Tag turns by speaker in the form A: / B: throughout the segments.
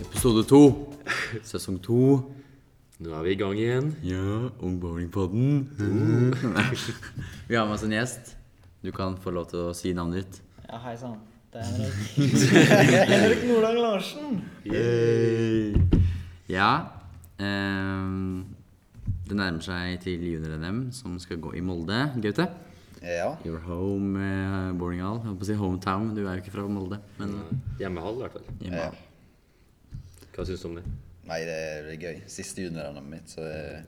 A: Episode to. Sesong to.
B: Nå er vi i gang igjen.
A: Ja, Ung Bowlingpodden. Vi har med oss en gjest. Du kan få lov til å si navnet ditt.
C: Ja, hei sann. Det er Henrik. Henrik Nordang Larsen.
A: Ja. ehm, det nærmer seg til junior-NM, som skal gå i Molde. Gaute?
D: Ja.
A: Your home eh, Bowlinghall. Jeg holdt på å si hometown. Du er jo ikke fra Molde, men eh,
B: Hjemmehall, i hvert fall.
A: hjemme.
B: Hva syns du om det?
D: Eh, Nei, det blir gøy. Siste juniorannet mitt, så det er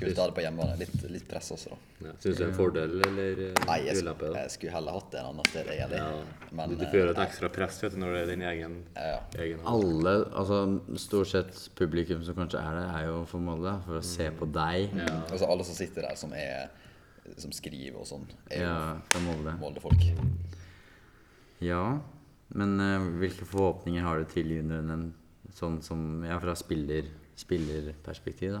D: kult å ha det på hjemmebane. Litt, litt press også, da.
B: Ja. Syns du det er en fordel eller eh,
D: Nei, jeg
B: ulempe?
D: skulle,
B: da?
D: jeg skulle heller hatt det en annen sted, egentlig.
B: Ja.
D: Men
E: Du
D: eh,
E: føler et ekstra press vet du, når det er din egen,
D: ja, ja.
E: egen hall.
A: Alle, altså stort sett publikum som kanskje er der, er jo for Molde. For å se på deg.
D: Altså, alle som sitter der, som, er, som skriver og sånn, er jo
A: Ja, fra Molde.
D: Molde-folk.
A: Ja, men eh, hvilke forhåpninger har du til juniorene? Sånn som Ja, fra spiller, spillerperspektiv, da.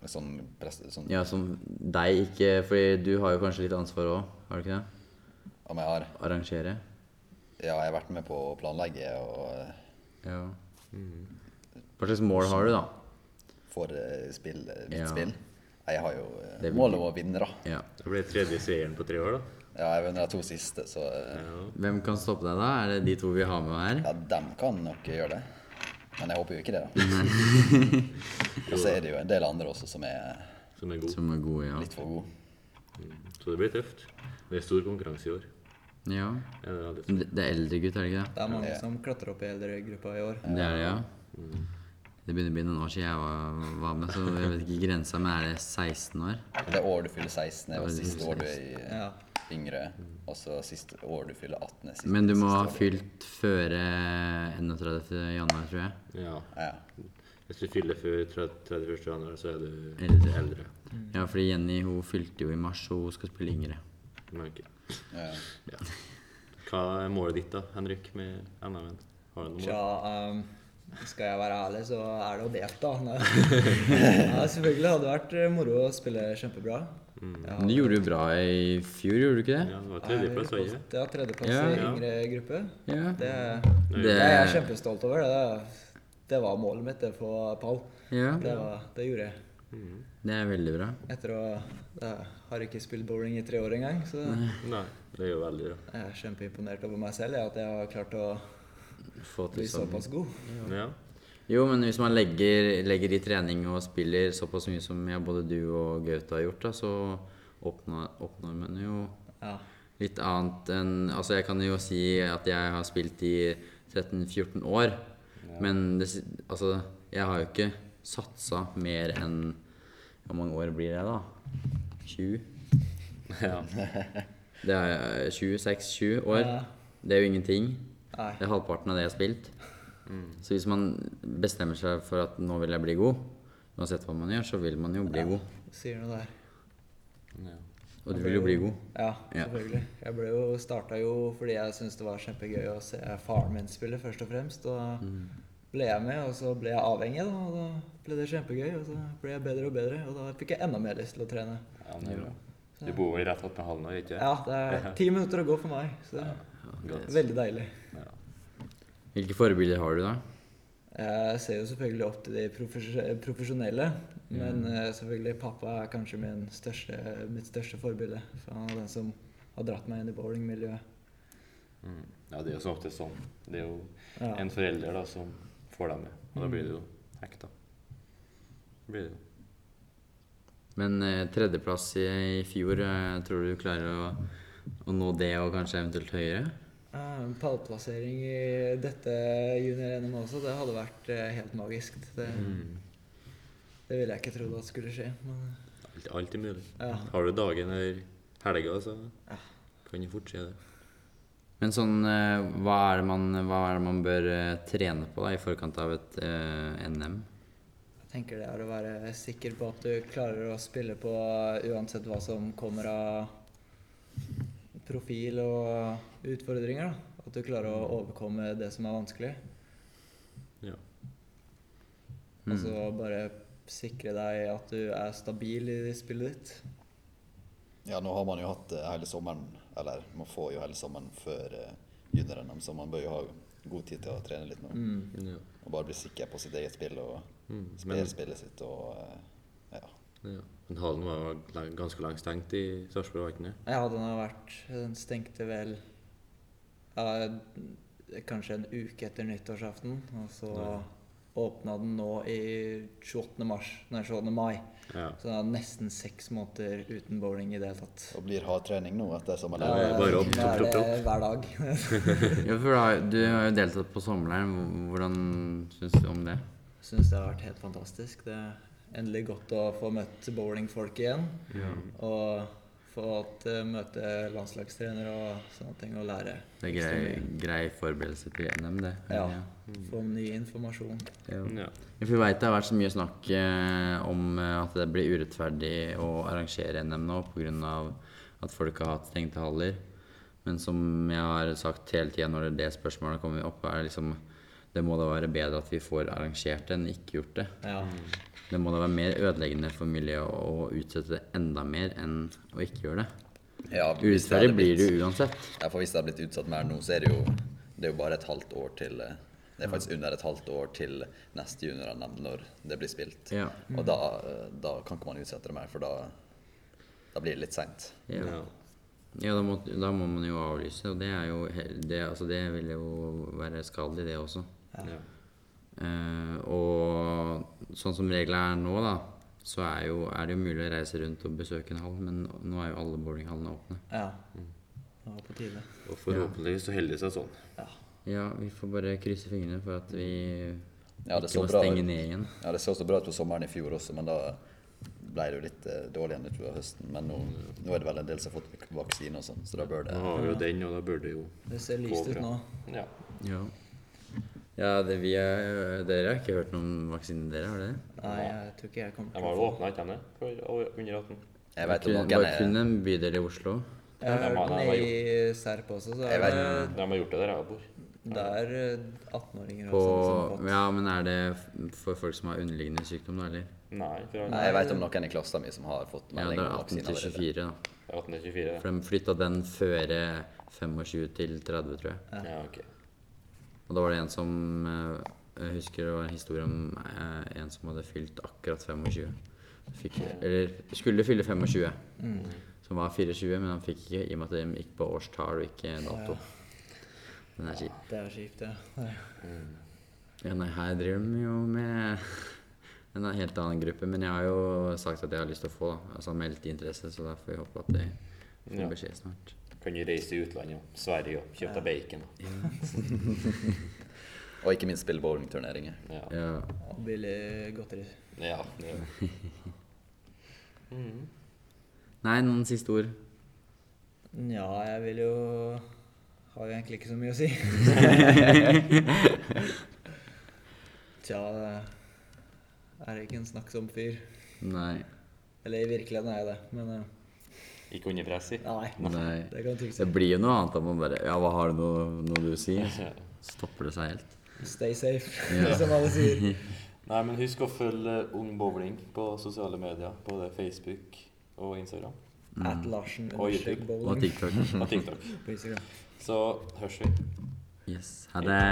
D: Med Sånn press, sånn,
A: Ja, som deg ikke Fordi du har jo kanskje litt ansvar òg, har du ikke det?
D: Om jeg har
A: Arrangere.
D: Ja, jeg har vært med på å planlegge og eh,
A: Ja. Hva slags mål har du, da?
D: får eh, spill, eh, mitt
A: Ja.
D: spill. Nei, Jeg har jo eh,
A: Det blir-
D: målet om å vinne, da.
A: Ja.
E: Det blir tredje seieren på tre år, da.
D: Ja, jeg vinner de to siste, så eh,
A: Hvem kan stoppe deg, da? Er det de to vi har med her?
D: Ja, dem kan nok gjøre det. Men jeg håper jo ikke det, da. Og så er det jo en del andre også som er
E: Som er god.
A: Som er gode, ja.
D: litt for gode.
E: Så det blir tøft. Det er stor konkurranse i år.
A: ja.
E: Ja, det er veldig
A: Det det er eldre gutt, er det ikke det?
C: Det er mange som klatrer opp i eldregruppa i år.
A: Det er det, ja. Det begynner å bli noen år siden jeg var, var med, så jeg vet ikke grensa, men er det 16 år?
D: Det året du fyller 16, er jo siste år du er i
C: Ja.
D: yngre. Og så siste år du fyller 18. er Siste,
A: Men du må
D: siste
A: ha
D: år du-
A: fylt føre 31. januar, tror jeg.
E: tøft. Ja.
D: Ja.
E: Hvis du fyller før 31. januar, så er du
A: Eldre.
E: eldre.
C: Mm.
A: Ja, fordi Jenny hun fylte jo i mars, og hun skal spille yngre.
E: Men ikke.
D: ja.
E: Ja. Hva er målet ditt, da, Henrik, med NM-en? Har du noe
C: Tja,
E: mål?
C: ehm, skal jeg være ærlig, så er det jo delt, da. Nei. Ja, selvfølgelig hadde det vært eh, moro å spille kjempebra. Ja,
A: Men du gjorde jo bra i fjor, gjorde du ikke det?
E: Ja, det var tredjeplass, var det ikke?
C: Ja, tredjeplass
A: Ja,
C: i
A: ja.
C: yngre gruppe.
A: Ja.
C: Det,
A: Det,
C: det er jeg kjempestolt over. Det, det var målet mitt, det på pall.
A: ja,
C: Det, var, det gjorde jeg.
A: det er veldig bra.
C: Etter å Jeg har ikke spilt bowling i tre år engang, så
E: Nei, det er jo veldig bra.
C: jeg er kjempeimponert over meg selv jeg, at jeg har klart å
A: Få
C: bli
A: til sånn.
C: såpass god.
E: Ja.
A: Jo, men hvis man legger, legger i trening og spiller såpass mye som ja, både du og Gaute har gjort, da, så oppnår, oppnår man jo
C: Ja.
A: litt annet enn Altså, jeg kan jo si at jeg har spilt i 13-14 år, men det, si- altså Jeg har jo ikke satsa mer enn Hvor mange år blir det, da? 20?
E: ja.
A: Det er 26-20 år.
C: Ja.
A: Det er jo ingenting.
C: Nei.
A: Det er halvparten av det jeg har spilt. Så hvis man bestemmer seg for at nå vil jeg bli god, uansett hva man gjør, så vil man jo bli god.
C: Du sier noe der.
E: ja.
A: Og du vil jo bli god.
C: Ja,
A: Ja.
C: selvfølgelig. Jeg ble jo starta jo fordi jeg syntes det var kjempegøy å se faren min spille, først og fremst. Og
A: Mm.
C: ble jeg med, og så ble jeg avhengig, da. Og da ble det kjempegøy. Og så ble jeg bedre og bedre, og da fikk jeg enda mer lyst til å trene.
E: ja men det er bra. Du bor vel rett attmed hallen nå, ikke
C: Ja, det er ti minutter å gå for meg, så det
E: Godt.
C: er veldig deilig.
A: Hvilke forbilder har du, da?
C: Jeg ser jo selvfølgelig opp til de profes- profesjonelle, men eh, selvfølgelig pappa er kanskje min største, mitt største forbilde. For han er den som har dratt meg inn i bowlingmiljøet.
E: Mm. Ja, det er jo så ofte sånn. Det er jo
C: Ja.
E: en forelder da, som får deg med, og da blir det jo hekta. Blir det jo.
A: Men eh, tredjeplass i, i fjor, eh, tror du du klarer å, å nå det, og kanskje eventuelt høyere?
C: Eh, En pallplassering i dette junior-NM også, det hadde vært eh, helt magisk. Det,
B: Mm.
E: Mm.
C: det ville jeg ikke trodd at skulle skje. Men
E: Alt, alt er mulig.
C: Ja.
E: Har du dagen eller helga, så kan du fort si det.
A: Men sånn, eh, hva er det man, hva er det man bør eh, trene på da, i forkant av et eh, NM?
C: jeg tenker det er å være sikker på at du klarer å spille på uansett hva som kommer av profil og utfordringer. Da. At du klarer å overkomme det som er vanskelig.
E: Ja.
C: Og så Altså bare sikre deg at du er stabil i spillet ditt.
D: ja, nå har man jo hatt eh, hele sommeren, eller man får jo hele sommeren før eh, juniorene dem, så man bør jo ha god tid til å trene litt nå.
C: Mm.
B: Ja.
D: Og bare bli sikker på sitt eget spill og
B: Mm,
D: spille
B: men,
D: spillet sitt og eh, ja.
B: ja. men hallen var jo lang- ganske langt stengt i Sarpsborg, var ikke den det?
C: Ja, den har vært Den stengte vel ja, kanskje en uke etter nyttårsaften. Og så
B: Ja.
C: åpna den nå i 28. Mars, nei, 28. mai.
B: Ja.
C: Så den er nesten seks måneder uten bowling i det hele tatt.
D: Og blir hard trening nå
B: Ja,
D: etter
B: det
D: sommerleiren.
B: er bare opp,
C: det er
B: opp, opp,
C: det hver dag.
A: Ja, for da, du har jo deltatt på sommerleiren. Hvor- Hvordan syns du om det?
C: Syns det har vært helt fantastisk. Det er endelig godt å få møtt bowlingfolk igjen. Og få at, eh, møte landslagstrenere og sånne ting, og lære
A: Det er grei, grei forberedelse til NM, det.
C: Ja. Få ny informasjon.
A: Mm. Ja.
B: Ja.
A: For vi vet det har vært så mye snakk eh, om eh, at det blir urettferdig å arrangere NM nå pga. at folk har hatt stengte haller. Men som jeg har sagt hele tida når det spørsmålet kommer opp, er liksom Det må da være bedre at vi får arrangert det enn ikke gjort det.
C: Ja.
B: Mm.
A: Det må da være mer ødeleggende for miljøet å utsette det enda mer enn å ikke gjøre det.
D: Ja, hvis det
A: Urettferdig
D: hadde
A: blir det
D: blitt-
A: uansett.
D: Ja, for hvis det har blitt utsatt mer nå, så er det jo, det er jo bare et halvt år til eh, Det er faktisk under et halvt år til neste juniornem når det blir spilt.
A: Ja.
D: Og da, eh, da kan ikke man utsette det mer, for da, da blir det litt seint.
A: Ja,
B: Ja.
A: ja da, må, da må man jo avlyse, og det er jo he- det, altså det vil jo være skadelig, det også.
B: Ja.
A: Eh, og sånn som reglene er nå, da, så er, jo, er det jo mulig å reise rundt og besøke en hall, men nå er jo alle bowlinghallene åpne.
C: ja. Det var på tide.
B: Og forhåpentligvis så heldig seg sånn.
C: Ja.
A: Ja, vi får bare krysse fingrene for at vi
D: Ja, det
A: ikke
D: så
A: må
D: bra ut.
A: stenge ned igjen.
D: Ja, det så så bra ut på sommeren i fjor også, men da ble det jo litt eh, dårlig igjen utover høsten. Men nå, nå er det vel en del som har fått vaksine og sånn, så da bør det
B: Nå har vi jo den, og da burde det jo
C: Det ser
B: Gå
C: lyst ut
B: bra.
C: nå.
E: Ja.
A: Ja, ja det, vi er, dere har ikke hørt noe om vaksinen dere, har dere?
C: Nei, jeg tror ikke jeg kommer
E: De
C: til å
E: har
C: få
E: jo åpna ikke de det? For over- under 18?
D: Jeg vet jo
A: Kun-
D: noen
A: Bare kun
D: er
A: en bydel i Oslo.
C: Jeg har
E: Ja, de har-
C: hørt
E: de har
C: nede i Serp også, så er
D: Jeg vet-
C: det
E: De har gjort det der jeg bor.
C: der eh, 18-åringer
A: På,
C: også som har fått.
A: ja, men er det f- for folk som har underliggende sykdom, da, eller?
E: Nei, for han
D: Nei, jeg vet om noen i klassen min som har fått
A: Ja,
D: melding
A: det er
D: om
A: 18
D: vaksine
A: til 24,
D: allerede.
A: da.
E: er 18 til 24.
A: For de flytta den føre 25 til 30, tror jeg.
E: da. Ja, ok.
A: Og da var det en som eh, Jeg husker det var en historie om eh, en som hadde fylt akkurat 25. Fikk, eller skulle fylle 25, som var 24, men han fikk ikke i og med at de gikk på årstall og ikke dato. Den er kjip.
C: Det er kjipt, ja.
A: Ja, nei, her driver de jo med en helt annen gruppe, men jeg har jo sagt at jeg har lyst til å få, da. Altså meldt interesse, så da får vi håpe at jeg
E: Ja.
A: får beskjed snart.
E: Kan jo reise til utlandet og Sverige og kjøpe deg bacon.
D: Og ikke minst spille bowlingturneringer.
E: Ja.
A: Ja.
C: Og billig godteri.
E: ja. det er det. Mhm.
A: Nei, noen siste ord?
C: Nja, jeg vil jo Har jo egentlig ikke så mye å si. Tja, er ikke en snakksom fyr.
A: Nei.
C: Eller i virkeligheten er jeg det, men eh,
E: Ikke under press, si.
C: nei.
A: Nei.
C: Det kan du ikke
A: Det
C: si.
A: blir jo noe annet om man bare Ja, hva har du noe, noe du sier? Så stopper det seg helt.
C: Stay safe,
A: Ja.
C: som alle sier.
E: Nei, men husk å følge Ung Bowling på sosiale medier. Både Facebook og Instagram.
A: Mm.
C: At Larsen
E: Og YouTube.
C: understrek
A: Og
C: bowling
A: TikTok.
E: Og TikTok.
C: på Instagram.
E: Så hørs vi.
A: Yes. Ha det.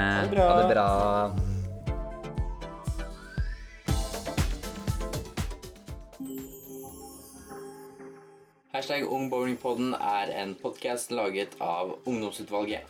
D: Ha det bra.
A: Hashtag Ungbowlingpodden er en podkast laget av ungdomsutvalget.